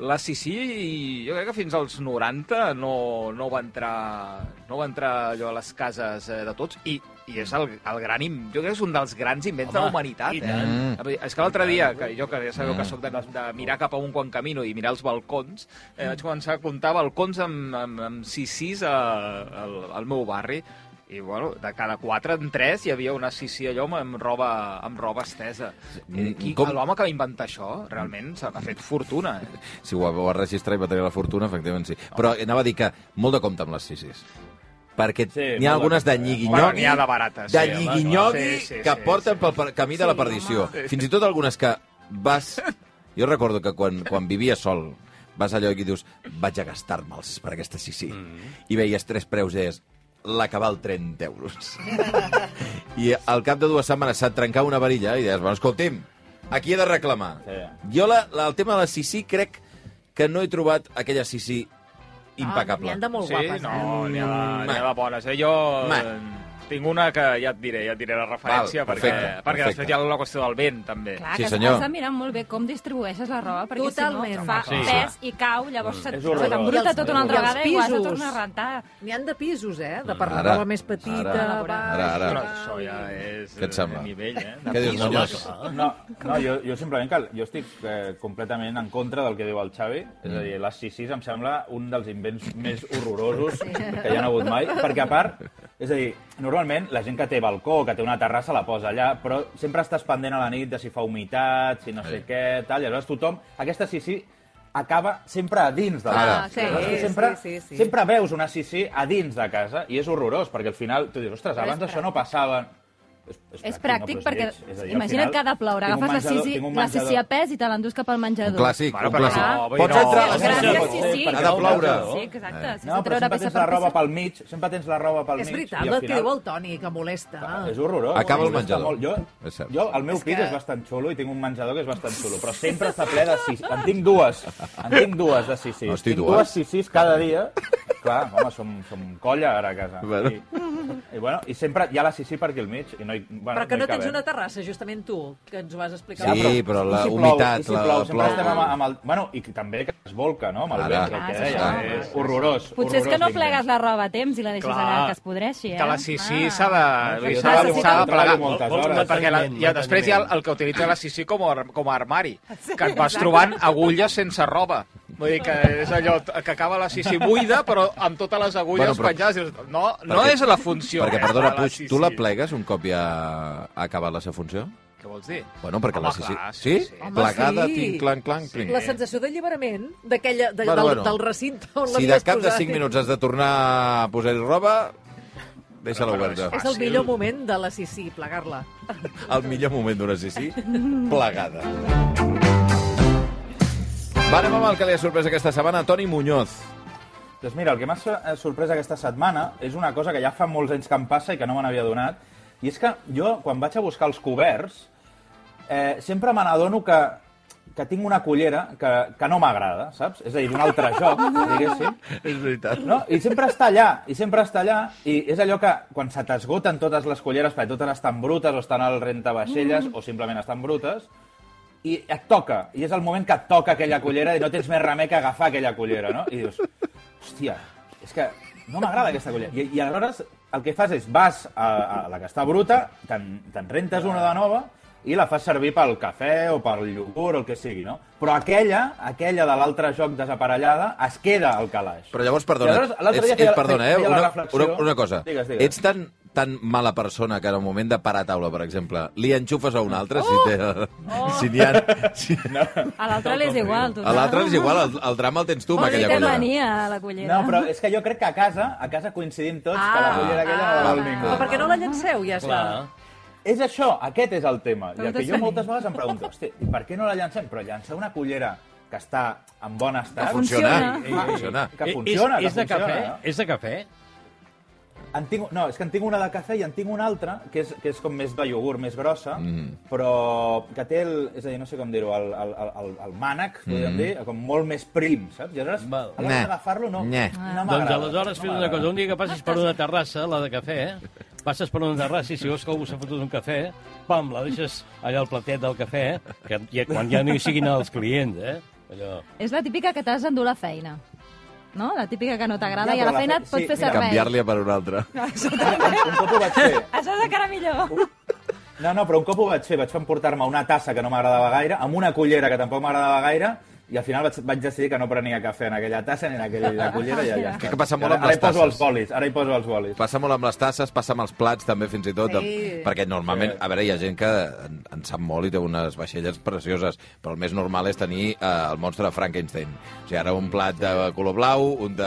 S7: la Sissi, jo crec que fins als 90 no, no, va, entrar, no va entrar allò a les cases eh, de tots i, i és el, el gran... im- Jo crec que és un dels grans invents de
S3: Home,
S7: la humanitat.
S3: i
S7: Eh?
S3: tant.
S7: A veure, És que l'altre dia, que jo que ja sabeu
S5: Mm.
S7: que sóc de, de mirar cap a un quan camino i mirar els balcons, eh, vaig començar a comptar balcons amb, amb, amb 6-6 a- al, al meu barri. I, bueno, de cada quatre en tres hi havia una sissi allò amb- amb roba, amb roba estesa.
S2: Mm,
S7: I, qui,
S2: com-
S7: L'home que va inventar això, realment, s'ha ha fet fortuna. Eh?
S2: Si ho va, ho va registrar i va tenir la fortuna, efectivament sí. Però anava a dir que molt de compte amb les sisis. Perquè
S5: Sí,
S2: sí,
S5: molt
S2: n'hi
S5: de
S2: ha algunes de
S7: Bueno,
S5: compte, eh?
S2: nyigui-nyogui,
S7: n'hi ha de barates.
S2: de
S7: Ah, sí, home,
S2: nyigui-nyogui
S7: sí, sí,
S2: que
S7: sí,
S2: porten
S7: sí.
S2: pel pel camí de la perdició. Fins i tot algunes que vas... Jo recordo que quan, quan vivia sol, vas allò i dius, vaig a gastar-me'ls per aquesta sisí. Mm. I veies tres preus i deies, l'acabar el 30 euros. I al cap de dues setmanes se't trencava una varilla i deies, bueno, escolti'm, aquí he de reclamar.
S5: Sí.
S2: Jo la, la, el tema de la Sissi crec que no he trobat aquella Sissi impecable.
S4: Ah, N'hi ha de molt
S7: Sí,
S4: guapes,
S7: no,
S4: eh?
S7: n'hi ha, de- n'hi ha
S2: va.
S7: de bones. Eh? Jo
S2: Va.
S7: eh, tinc una que ja et diré, ja et diré la referència,
S2: Val,
S7: perquè,
S2: perfecte,
S7: perquè
S2: perfecte.
S7: després hi ha la qüestió del vent, també.
S8: Clar,
S2: Sí,
S8: que
S2: senyor.
S8: has de mirar molt bé com distribueixes la roba, perquè si
S4: Totalment.
S8: no fa
S3: Sí.
S8: sí. pes i cau,
S3: Mm.
S8: llavors se't-
S5: És
S8: se
S5: horrorós.
S4: I
S8: t'embruta
S4: els-
S8: tot una altra
S4: i els
S8: vegada i ho has de
S4: pisos.
S8: tornar a rentar.
S4: N'hi han de pisos, eh? De per la
S2: Ara.
S4: roba més petita,
S2: Ara.
S4: baixa,
S2: Ara, ara.
S7: Però
S4: tal.
S7: això ja és
S2: Què et
S7: eh,
S2: sembla?
S7: nivell, eh?
S2: Què dius,
S3: Home,
S2: Muñoz?
S3: clar.
S5: No, no jo, jo simplement que jo estic eh, completament en contra del que diu el Xavi. És
S4: Mm.
S5: a dir, les sissis em sembla un dels invents més horrorosos que hi ha hagut mai. Perquè, a part, és a dir, normalment la gent que té balcó, que té una terrassa, la posa allà, però sempre estàs pendent a la nit de si fa humitat, si no sé què, tal. I aleshores tothom... Aquesta sissi acaba sempre a dins de la
S2: Ara.
S5: casa.
S4: Ah, Sí,
S5: És que
S4: sí,
S5: sempre,
S4: sí, sí.
S5: sempre veus una sissi a dins de casa i és horrorós, perquè al final tu dius, ostres, abans això no passava... És,
S8: És pràctic,
S5: no, però
S8: perquè
S5: és lleig. És a dir, al
S8: imagina't
S5: final,
S8: que ha de ploure,
S5: tinc un
S8: agafes la
S5: menjador-
S8: sisi,
S5: tinc un
S8: la
S5: menjador-
S8: sisi a pes i te l'endús cap al
S2: Un
S8: menjador.
S2: clàssic,
S7: Bueno,
S2: un
S7: però
S2: clàssic.
S7: no, vull dir,
S2: Pots
S7: no.
S2: entrar a la
S5: Gràcies,
S2: Sissi?
S8: Gràcies,
S5: pot ser,
S8: sisi.
S5: perquè
S2: Ha de ploure. Eh.
S8: Sí, exacte. s'ha
S5: No,
S8: de
S5: però
S8: treure
S5: sempre
S8: peça
S5: tens
S8: per
S5: la roba
S8: peça.
S5: pel mig, sempre tens la roba pel
S4: És
S5: mig.
S4: veritat,
S5: i
S4: el
S5: al
S4: que diu
S5: final... Ah.
S4: el Toni, que molesta.
S5: És horrorós.
S2: Acaba el
S5: Molesta
S2: menjador. És
S5: molt. Jo,
S2: cert.
S5: jo, el meu
S4: És
S5: pis
S4: que-
S5: és bastant xulo i tinc un menjador que és bastant xulo, però sempre està ple de sis... En tinc dues. En tinc dues de sis.
S2: Hosti,
S5: tinc
S2: dues?
S5: dues sis cada dia. Clar, home, som, som colla ara a casa.
S2: Bueno.
S5: I, i, bueno, I sempre hi ha la sissi per aquí al mig. I no hi, bueno,
S4: Però que no
S5: hi
S4: tens
S5: cabem.
S4: una terrassa, justament tu, que ens ho vas explicar.
S5: Ja,
S2: Sí, però la
S5: i si
S2: humitat,
S5: plou, i si
S2: la-
S5: plou, sempre
S2: plou.
S5: estem amb, amb el... Bueno, i que també que es volca, no? Amb el
S2: Ara.
S5: vent, que
S8: Ah,
S5: el
S8: és
S5: que deia. eh,
S8: això.
S5: És horrorós.
S8: Potser és
S5: horrorós
S8: que no
S5: l'invent.
S8: plegues la roba a temps i la deixes
S7: Clar.
S8: allà que es podreixi, eh?
S7: Que la Sissi
S8: Ah.
S7: s'ha de... vull dir, S'ha de,
S8: Necessita-
S7: s'ha de plegar.
S5: Treballo moltes
S3: Vol- vol
S5: hores. eh?
S7: Perquè la,
S3: manteniment,
S7: ja, després hi ha el,
S3: manteniment.
S7: el que utilitza la Sissi com a, ar- com a armari, que et vas trobant agulles sense roba. Vull dir que és allò t- que acaba la Sissi buida, però amb totes les agulles
S2: Bueno, però-
S7: bueno, penjades. Dius, No, no
S2: Perquè-
S7: és la funció.
S2: Perquè,
S7: aquesta
S2: perdona,
S7: de
S2: Puig,
S7: Sissi.
S2: tu la plegues un cop ja ha acabat la seva funció?
S7: Què vols dir?
S2: Bueno, perquè
S7: Home,
S2: la Sissi...
S7: clar,
S2: sí?
S7: sí, sí.
S2: Home,
S4: Home,
S2: Plegada,
S4: sí.
S2: tinc, clanc, clanc, clinc.
S4: La sensació d'alliberament d'aquella- de,
S2: Bueno,
S4: del,
S2: bueno.
S4: del recinte on
S2: Si de
S4: l'havies
S2: cap de
S4: posat.
S2: 5 minuts has de tornar a posar-hi roba, deixa-la oberta.
S4: eh, És el millor moment de la Sissi, plegar-la.
S2: El millor moment d'una sissi plegada. Va, anem amb el que li ha sorprès aquesta setmana, Toni Muñoz.
S5: Doncs mira, el que m'ha so- eh, sorprès aquesta setmana és una cosa que ja fa molts anys que em passa i que no me n'havia donat, i és que jo, quan vaig a buscar els coberts, eh, sempre me n'adono que, que tinc una cullera que, que no m'agrada, saps? És a dir, d'un altre joc, diguéssim.
S2: És veritat.
S5: No? I sempre està allà, i sempre està allà, i és allò que quan se t'esgoten totes les culleres, perquè totes estan brutes, o estan al rentavaixelles, o simplement estan brutes, i et toca, i és el moment que et toca aquella cullera i no tens més remei que agafar aquella cullera, no? I dius, hòstia, és que no m'agrada aquesta cullera. I, I aleshores el que fas és vas a, a la que està bruta, te'n te'n rentes una de nova i la fas servir pel cafè o pel iogurt o el que sigui, no? Però aquella, aquella de l'altre joc desaparellada, es queda al calaix.
S2: Però llavors, perdona,
S5: Llavors, l'altre dia
S2: ets,
S5: feia
S2: ets,
S5: la-
S2: perdona eh,
S5: feia la
S2: una,
S5: reflexió.
S2: una, una cosa.
S5: Digues, digues.
S2: Ets tan, tan mala persona que en el moment de parar a taula, per exemple, li enxufes a un altre si té... Si n'hi ha... Si...
S8: A l'altre li és igual, tu.
S2: A l'altre és igual, el, el drama el tens tu amb aquella
S8: collera.
S2: collera.
S8: mania, a la collera.
S5: No, però és que jo crec que a casa, a casa coincidim tots que la
S4: Ah,
S5: cullera aquella
S2: ah,
S5: no la vol
S2: val,
S5: ningú.
S4: Però per què no la llanceu, ja està?
S3: Clar.
S5: És això, aquest és el tema. I el que
S8: Preguntes
S5: jo moltes vegades em pregunto, hosti, i per què no la llancem? Però llançar una cullera que està en bon estat...
S2: Funciona.
S8: Funciona.
S2: Funciona.
S5: Que
S3: Eh,
S5: funciona,
S3: és, és
S5: que
S3: de
S5: funciona.
S3: cafè? És de cafè?
S5: no? En tinc, no, és que en tinc una de cafè i en tinc una altra, que és, que és com més de iogurt, més grossa, mm. però que té el, és a dir, no sé com dir-ho, el, el, el, el, el mànec, podríem mm. dir, com molt més prim, saps? I aleshores,
S3: Val.
S5: a l'hora
S2: Nyeh.
S5: d'agafar-lo, no,
S2: Nyeh.
S5: no m'agrada.
S3: Doncs aleshores fes una
S5: m'agrada.
S3: cosa. Un dia que passis per una terrassa, la de cafè, eh? passes per una terrassa i si veus que algú s'ha fotut un cafè, pam, la deixes allà al platet del cafè, que ja, quan ja no hi siguin els clients, eh? Allò...
S8: És la típica que t'has d'endur a la feina. No? La típica que no t'agrada
S5: Ja,
S8: i a
S5: però
S8: la
S5: la
S8: feina
S5: fe-
S8: et pots
S5: sí,
S8: fer
S5: mira,
S8: servei.
S2: Canviar-li per un altre.
S5: Un, un cop ho vaig fer.
S8: Això és encara millor.
S5: No, no, però un cop ho vaig fer, vaig emportar-me una tassa que no m'agradava gaire, amb una cullera que tampoc m'agradava gaire, i al final vaig, vaig decidir que no prenia cafè en aquella tassa ni en aquella la cullera i ja està.
S2: Que passa molt
S5: ara,
S2: amb
S5: ara
S2: les
S5: hi poso
S2: tasses.
S5: els bolis, ara hi poso els bolis.
S2: Passa molt amb les tasses, passa amb els plats també, fins i tot.
S4: Sí.
S2: Perquè normalment, a veure, hi ha gent que en, en sap molt i té unes vaixelles precioses, però el més normal és tenir eh, el monstre de Frankenstein. O sigui, ara un plat de color blau, un de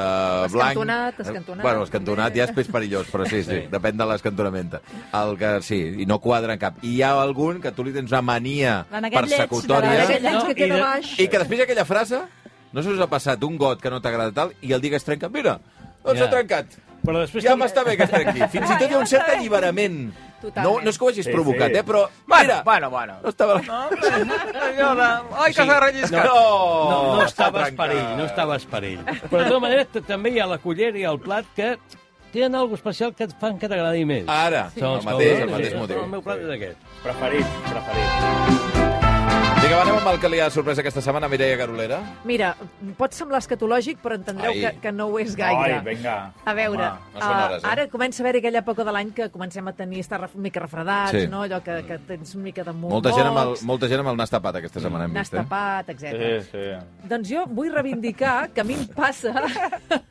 S2: blanc... eh,
S4: Escantonat, escantonat.
S2: Bueno, escantonat ja és peix perillós, però sí, sí, sí. depèn de l'escantonamenta. El que sí, i no quadra en cap. I hi ha algun que tu li tens una mania
S8: En aquest lleig de la-
S2: persecutòria...
S4: Aquell
S3: No,
S4: anys que
S3: i
S4: queda
S3: de-
S4: baix.
S2: I que després d'aquella frase, no se us ha passat un got que no t'agrada tal i el dia que es trenca, mira, doncs
S3: Ja.
S2: s'ha trencat.
S3: Però després
S2: ja
S3: també-
S2: m'està bé que es trenqui. Fins i tot hi ha un cert alliberament. No,
S4: Totalment.
S2: no és que ho hagis
S5: Sí,
S2: provocat,
S5: sí.
S2: eh, però...
S7: Bueno,
S2: mira,
S7: bueno, bueno.
S2: No estava... No,
S7: Allò de... Ai, que s'ha relliscat.
S3: No,
S2: no,
S3: no estaves per ell, no estaves per ell. Oh, Però de tota manera t- també hi ha la cullera i el plat que tenen alguna especial que et fan que t'agradi més.
S2: Ara, Ah, sí. el
S3: Segons que
S2: mateix,
S3: veus,
S2: el
S3: sí,
S2: mateix
S3: sí,
S2: motiu.
S3: eh? El meu plat és aquest.
S5: Preferit, preferit.
S2: Vinga, va, anem amb el que li ha sorprès aquesta setmana, Mireia Garolera.
S4: Mira, pot semblar escatològic, però entendreu
S2: Ai.
S4: que, que no ho és gaire.
S5: Ai, vinga.
S4: A veure,
S5: Home,
S2: no són
S4: eh,
S2: hores, eh?
S4: ara comença a haver aquella poca de l'any que comencem a tenir, estar ref- mica refredats,
S2: Sí.
S4: no? allò que, que tens una mica de mocs,
S2: Molta gent, amb el, molta gent amb el nas tapat aquesta setmana, hem
S4: nas
S2: vist, eh?
S4: tapat, etc.
S5: Sí, sí.
S4: Doncs jo vull reivindicar que a mi em passa...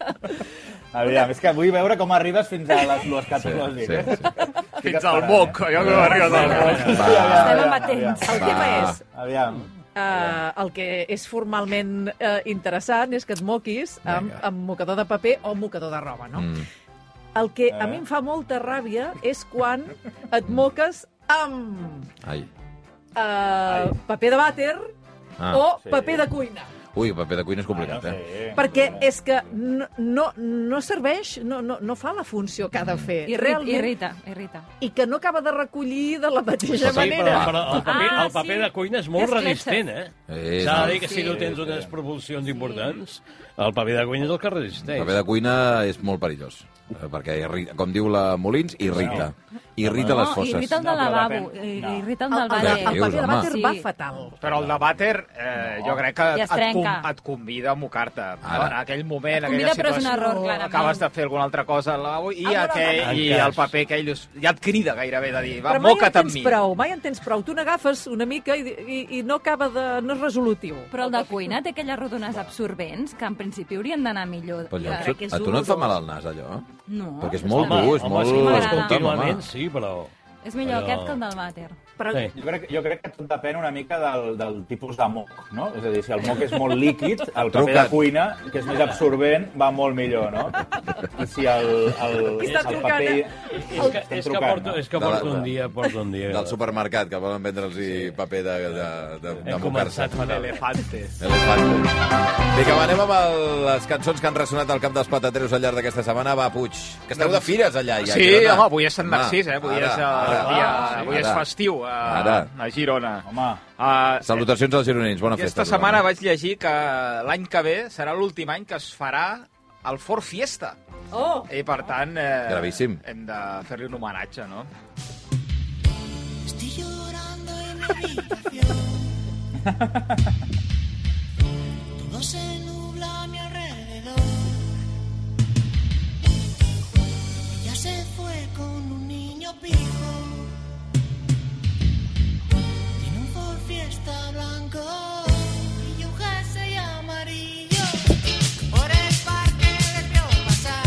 S5: Aviam, és que vull veure com arribes fins a les dues que tu has dit.
S2: Sí,
S5: eh?
S2: sí.
S5: Estic
S7: Fins al
S5: esperant,
S7: moc,
S5: eh?
S7: allò que arriba del moc.
S2: Va.
S8: Estem
S5: aviam,
S8: amatents.
S4: El tema és,
S5: Aviam.
S4: eh, el que és formalment eh, interessant és que et moquis amb,
S2: Vinga.
S4: amb mocador de paper o mocador de roba, no?
S2: Mm.
S4: El que a mi em fa molta ràbia és quan et moques amb
S2: Ai.
S4: eh, paper de vàter
S2: Ah.
S4: o
S5: Sí.
S4: paper de cuina.
S2: Ui, el paper de cuina és complicat,
S5: Ah, no
S2: eh?
S5: sé.
S4: perquè és que no, no, no serveix, no, no, no fa la funció que ha de fer.
S8: Irri-
S4: realment,
S8: Irrita, irrita.
S4: I que no acaba de recollir de la mateixa
S2: Sí,
S3: Sí, però,
S4: manera.
S3: però el paper,
S8: Ah,
S3: el paper
S8: sí.
S3: de cuina és molt
S8: És fletxa.
S3: resistent, eh?
S2: Sí,
S3: S'ha
S2: no.
S3: de dir que si no tens unes proporcions importants, el paper de cuina és el que resisteix.
S2: El paper de cuina és molt perillós, eh, perquè, irri- com diu la Molins, irrita. Irrita les
S8: no,
S2: fosses.
S8: irrita el
S5: No,
S8: del
S5: però
S8: lavabo,
S5: depèn.
S8: i-
S5: No.
S8: irrita el
S4: El, el,
S8: del
S4: el,
S8: ballet.
S2: Què
S4: el
S2: dius,
S4: paper de vàter
S8: home?
S4: va
S8: Sí.
S4: fatal.
S7: Però el de vàter, eh, jo crec que
S8: I es
S7: et, com,
S8: trenca.
S7: et convida a mocar-te.
S2: Ara.
S7: No? En aquell moment,
S8: Et
S7: en aquella
S8: convida, però és un
S7: situació,
S8: error, clarament.
S7: acabes de fer alguna altra cosa al lavabo i,
S4: Alguna
S7: aquell,
S3: cosa.
S7: i
S3: Encara.
S7: el paper aquell us- ja et crida gairebé de dir, va,
S4: però mai en
S7: moca't amb
S4: tens
S7: mi.
S4: prou, mai en tens prou. Tu n'agafes una mica i, i, i no acaba de... no és resolutiu.
S8: Però el de cuina té aquelles rodones absorbents que en principi haurien d'anar millor.
S2: Però
S8: Jo
S2: allò,
S8: crec que és
S2: a tu no et fa
S8: horrorós.
S2: mal el nas, allò?
S8: No.
S2: Perquè és molt
S3: Home,
S2: dur, és
S3: home,
S2: molt...
S3: si ho fas
S8: Escolta'm,
S3: contínuament, sí, però...
S8: És millor
S3: Allò-
S8: aquest que el del vàter.
S4: Però
S3: Sí.
S5: Jo crec, jo crec que tot depèn una mica del, del tipus de moc, no? És a dir, si el moc és molt líquid, el paper de
S2: Truca't.
S5: cuina, que és més absorbent, va molt millor, no? I si el, el,
S4: Qui està
S5: el
S4: trucant,
S5: paper...
S4: eh?
S3: És que, és que, porto, és
S2: De
S3: que
S2: la-
S3: porto un dia, porto un dia...
S2: Del supermercat, que volen vendre'ls sí. paper de, de, de, de
S3: Hem començat fatal.
S7: Elefantes.
S2: Elefant. Vinga, va, anem amb el, les cançons que han ressonat al camp dels patateros al llarg d'aquesta setmana. Va, Puig, que esteu de fires allà, ja. a
S7: Sí,
S2: Girona.
S7: home, avui és Sant
S2: Va,
S7: Narcís, eh? Avui,
S2: ara,
S7: és, el
S2: ara.
S7: dia,
S2: Sí,
S7: avui és
S2: ara.
S7: festiu a,
S2: Ara.
S7: a Girona.
S5: Home,
S7: Uh,
S2: Salutacions als gironins, bona festa.
S7: Aquesta setmana vaig llegir que l'any que ve serà l'últim any que es farà el Fort Fiesta.
S4: Oh!
S7: I, per tant, eh,
S2: Gravíssim.
S7: hem de fer-li un homenatge, no?
S6: Estoy llorando en mi habitación. Todo se nubla a mi alrededor. Ella se fue con un niño pijo. Tiene un Ford Fiesta blanco y un jersey amarillo. Por el parque le vio pasar.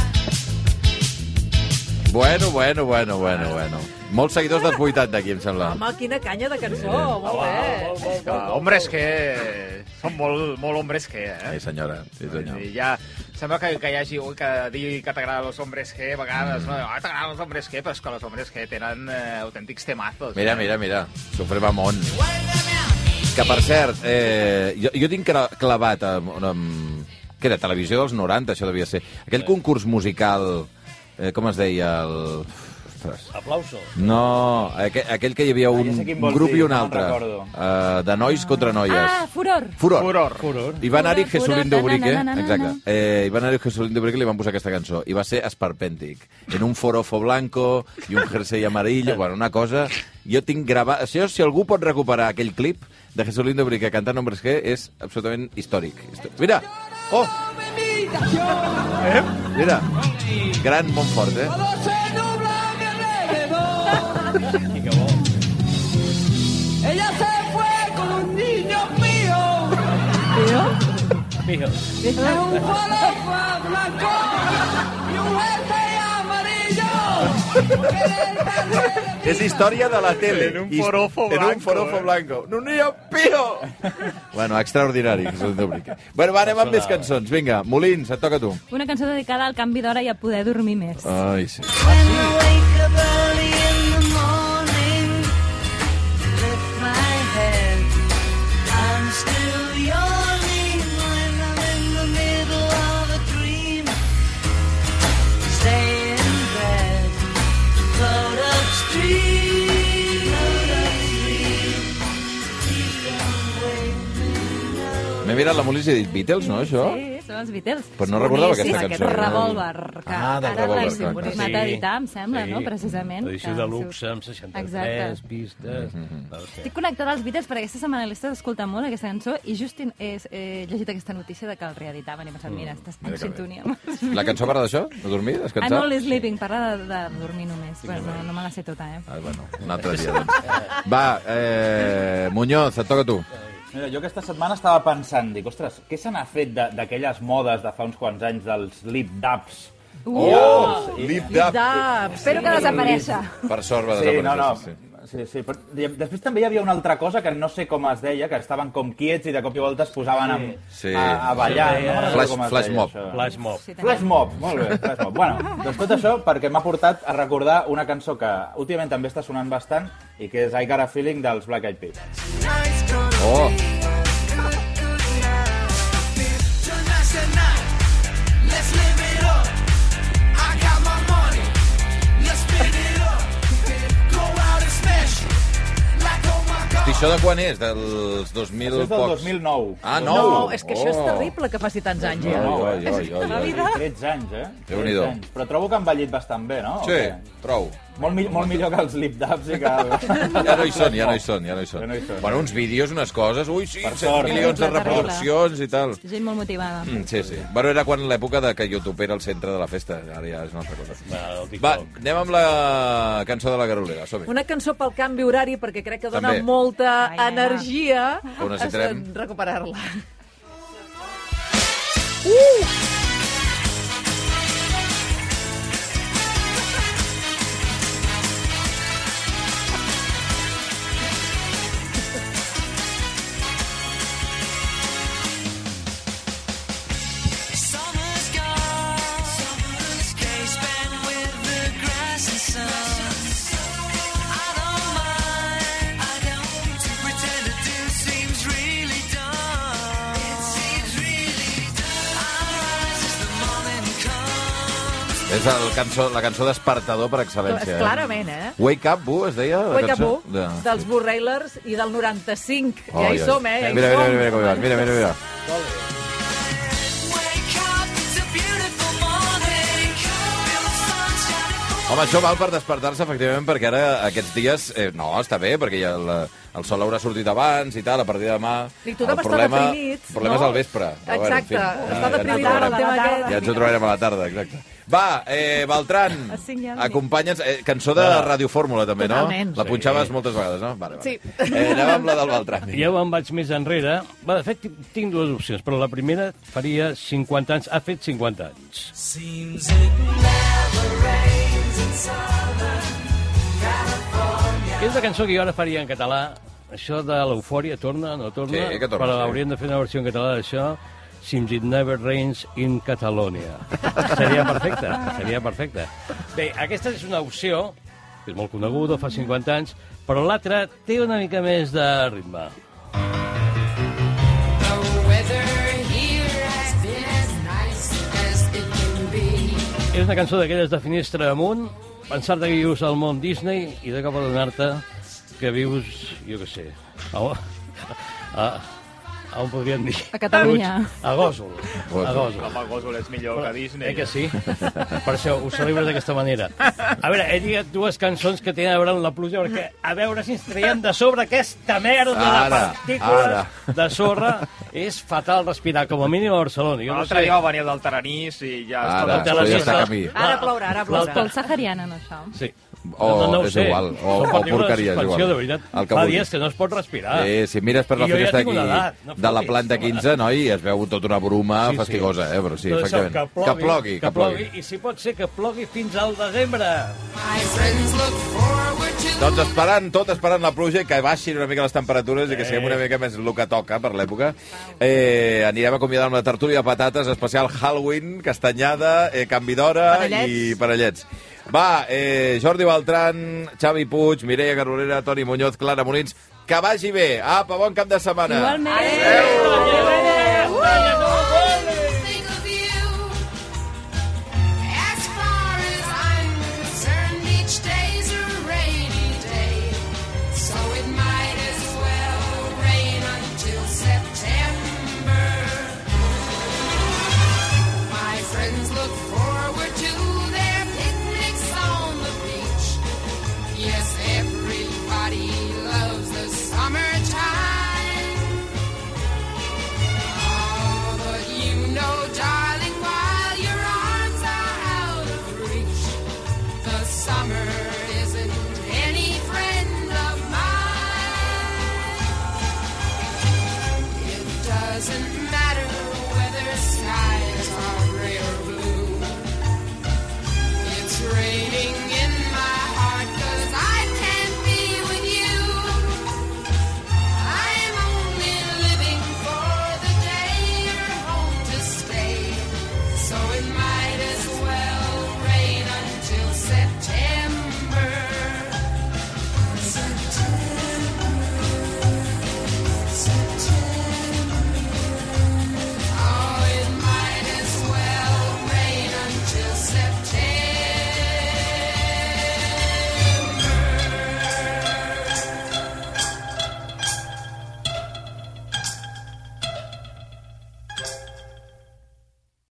S2: Bueno, bueno, bueno, bueno, bueno. Molts seguidors dels 80 aquí, em sembla.
S4: Home, quina canya de
S2: Sí.
S4: cançó, molt bé.
S7: És que, hombres que... Són molt, molt hombres que, eh?
S2: Sí, senyora. Sí, senyor.
S7: I ja, sembla que, que hi hagi un que digui que t'agraden els hombres que, a
S2: Mm.
S7: vegades, no? Ah, t'agraden els hombres que, però és que els hombres que tenen eh, autèntics temazos.
S2: Mira, mira, mira. Sofrem Amont. Que, per cert, eh, jo, jo tinc cra- clavat amb, amb... Què era? Televisió dels 90, això devia ser. Aquell concurs musical eh, com es deia el... Ostres.
S3: Aplauso.
S2: No, aquell, aquell que hi havia un
S3: Ah, sé quin vols
S2: grup i
S3: dir,
S2: un
S3: no me'n
S2: altre,
S3: recordo.
S2: eh, de nois contra noies.
S8: Ah, furor.
S2: Furor.
S3: Furor.
S2: I va anar-hi
S8: Furor,
S2: Jesulín
S8: furor,
S2: Dubrique,
S8: na, na, na, na,
S2: exacte.
S8: na.
S2: Eh, I va anar-hi Jesulín Dubrique i li van posar aquesta cançó. I va ser esperpèntic. En un forofo blanco i un jersei amarillo. bueno, una cosa... Jo tinc gravat... Això, si algú pot recuperar aquell clip de Jesulín Dubrique cantant Hombres G, és absolutament històric. Histò- Mira! Oh! Eh? Mira! Gran Montfort, eh?
S6: Ella se fue con un niño mío.
S3: Mijo.
S6: Es un falofa blanco y un jersey amarillo.
S2: És història de la tele.
S6: En un
S2: Hist-
S6: forofo
S2: En
S6: blanco,
S2: un forofo
S6: eh?
S2: blanco. No n'hi ha pio! Bueno, extraordinari. Jesulín Dubrique. Bueno, va, anem amb més cançons. Vinga, Molins, et toca a tu.
S8: Una cançó dedicada al canvi d'hora i a poder dormir més.
S2: Ai, sí. M'he mirat la Molins i he dit Beatles, no, això?
S8: Sí, són els Beatles.
S2: Però no recordava
S8: Boníssim,
S2: aquesta
S8: aquest
S2: cançó. eh?
S8: Revolver,
S2: Ah, del
S8: que ara
S2: Revolver,
S8: l'han
S2: clar, clar.
S8: tornat a editar, em sembla, no? Precisament.
S3: Edició
S8: que
S3: de
S8: han sigut-
S3: luxe, amb 63
S8: Exacte.
S3: pistes... Mm
S8: Estic connectada als Beatles perquè aquesta setmana l'he estat escoltant molt, aquesta cançó, i just he eh, llegit aquesta notícia de que el reeditaven i he pensat, mira, estàs
S2: Mm,
S8: en
S2: mira que bé.
S8: sintonia. amb els
S2: La cançó parla d'això? De dormir,
S8: I'm
S2: descansar?
S8: only sleeping, parla de, de dormir només. Bueno, no, no me la sé tota, eh?
S2: Ah, bueno, un altre dia, doncs. Va, eh, Muñoz, et toca a tu.
S5: Mira, jo aquesta setmana estava pensant, dic, ostres, què se n'ha fet de- d'aquelles modes de fa uns quants anys dels lip-daps?
S8: Uh!
S2: Dap.
S8: Espero que desapareixi.
S2: Oh! Per sort va
S5: Sí, no,
S2: desaparèixer.
S5: no. Sí, sí, però de- després també hi havia una altra cosa que no sé com es deia, que estaven com quiets i de cop i volta es posaven amb,
S2: Sí.
S5: a, a ballar.
S2: Sí.
S5: No me'n recordo
S2: Flash-
S5: com es
S2: flash
S5: deia,
S2: mob.
S5: això.
S3: Flash mob.
S5: Flash mob, molt bé, flash mob. Bueno, doncs tot això perquè m'ha portat a recordar una cançó que últimament també està sonant bastant i que és I Got a Feeling dels Black Eyed Peas.
S2: Oh!
S6: Tonight's the night. Let's live it up. I got my money. Let's spin it up. Go out and smash it. Like oh my god.
S2: Hosti, això de quan és? Dels 2000
S5: Això és del
S2: pocs?
S5: 2009.
S2: Ah,
S4: No,
S2: no!
S4: és que això és terrible que faci tants anys, ja.
S2: Ai, ai, ai, ai, ai.
S5: Ai, 13 anys, eh?
S2: Déu-n'hi-do.
S5: 13 anys. Però trobo que han ballit bastant bé, no?
S2: Sí,
S5: O què?
S2: trobo.
S5: Molt, mi molt millor que els lip-daps i que... El...
S2: Ja no hi són, ja no hi són, ja no hi són.
S5: Ja no hi són.
S2: Bueno, uns vídeos, unes coses... Ui, sí,
S5: Per
S2: 100
S5: sort. eh?
S2: milions de
S8: Terrible, terrible.
S2: reproduccions i tal.
S8: Gent molt motivada.
S2: Mm, Sí, sí. Bueno, era quan l'època de que YouTube era el centre de la festa. Ara ja és una altra cosa. Va, anem amb la cançó de la Garolera. Som-hi.
S4: Una cançó pel canvi horari, perquè crec que dona
S2: També.
S4: molta
S8: Ai, nena.
S4: energia
S2: Ho necessitarem.
S4: a recuperar-la.
S6: Summer's gone. Summer's gone. Spent with the grass and sun. I don't mind. I don't to pretend to do seems really dumb. It seems really dumb. I rise as the morning comes.
S2: És el cançó, la cançó despertador per excel·lència.
S4: Clarament, eh?
S2: Wake Up, Boo, es deia? la
S4: Wake Up
S2: cançó?
S4: Boo, dels Boo Railers i del 95.
S2: Ai,
S4: ja
S2: ai.
S4: hi som, eh? Ja hi
S2: mira, mira,
S4: som.
S2: mira, mira, com hi va. mira, mira, mira.
S6: Wake up. It's a beautiful morning. Feel the sunshine.
S2: Home, això val per despertar-se, efectivament, perquè ara aquests dies... Eh, no, està bé, perquè ja la, el sol haurà sortit abans i tal, a partir de demà...
S4: I tothom
S2: el
S4: està
S2: problema,
S4: deprimit,
S2: El problema
S4: no?
S2: és al vespre. Però,
S4: Exacte, està
S2: Ah, ja ens ho
S4: deprimit
S2: trobarem.
S4: amb el tema aquest.
S2: Ja ens ho trobarem a la tarda, exacte. Va, eh, Beltran,
S4: A cinc ja.
S2: acompanya'ns... Eh, cançó de Radio Fórmula, també, no?
S4: Totalment.
S2: La punxaves moltes vegades, no? Vale, vale.
S4: Sí.
S2: Eh, anava amb la del Beltran.
S3: Jo em vaig més enrere. Va, de fet, tinc- tinc dues opcions, però la primera faria 50 anys. Ha fet 50 anys.
S6: Seems it never rains in summer.
S3: És la cançó que jo ara faria en català. Això de l'eufòria torna, no torna?
S2: Sí, que torna,
S3: Però
S2: sí.
S3: hauríem de fer una versió en català d'això. Seems it never rains in Catalonia. seria perfecte, seria perfecte. Bé, aquesta és una opció, que és molt coneguda, fa 50 anys, però l'altra té una mica més de ritme.
S6: The weather here has been as nice as it can be.
S3: És És una cançó d'aquelles de finestra amunt, pensar-te que vius al món Disney i de cop adonar-te que vius, jo què sé, a, a, a on podríem dir?
S8: A Catalunya.
S3: Puig- A Gòsol. A Gòsol.
S7: Home, Gòsol és millor que Disney.
S3: Eh que sí? Per això ho celebres d'aquesta manera. A veure, he dit dues cançons que tenen a veure amb la pluja, perquè a veure si ens traiem de sobre aquesta merda de
S7: Ara,
S3: partícules
S7: ara.
S3: de sorra. És fatal respirar, com a mínim a Barcelona. Jo no
S7: L'altre
S3: sé-
S7: dia va venir el del Taranís i ja...
S2: Ara,
S7: estava-
S2: Ah, ja està camí.
S8: Ara plourà, ara
S3: plourà.
S8: plourà. Pel sahariana, no, això?
S3: Sí.
S2: O
S3: no, no ho
S2: és
S3: sé.
S2: igual, o- o
S3: Són partícules de
S2: porqueria, és
S3: suspensió,
S2: igual.
S3: De veritat,
S2: El que
S3: fa
S2: vulguis.
S3: dies que no es pot respirar.
S2: Eh, si mires per la
S3: Ah. I jo ja
S2: finestra
S3: tinc
S2: aquí
S3: una edat, no
S2: de la
S3: fotis.
S2: planta 15, noi, es veu tota una bruma
S3: Sí, sí.
S2: fastigosa, eh? Però sí,
S3: Tot això,
S2: efectivament. que plogui, que plogui.
S3: I si pot ser que plogui fins al desembre.
S2: Doncs esperant, tot esperant la pluja, i que baixin una mica les temperatures i que siguem una mica més el que toca per l'època. Eh, anirem a convidar amb la tertúlia de patates, especial Halloween, castanyada, eh, canvi d'hora i
S9: Parellets.
S2: parellets. Va, eh, Jordi Beltran, Xavi Puig, Mireia Garolera, Toni Muñoz, Clara Molins, que vagi bé. Apa, bon cap de setmana.
S8: Igualment. Adéu. Adéu.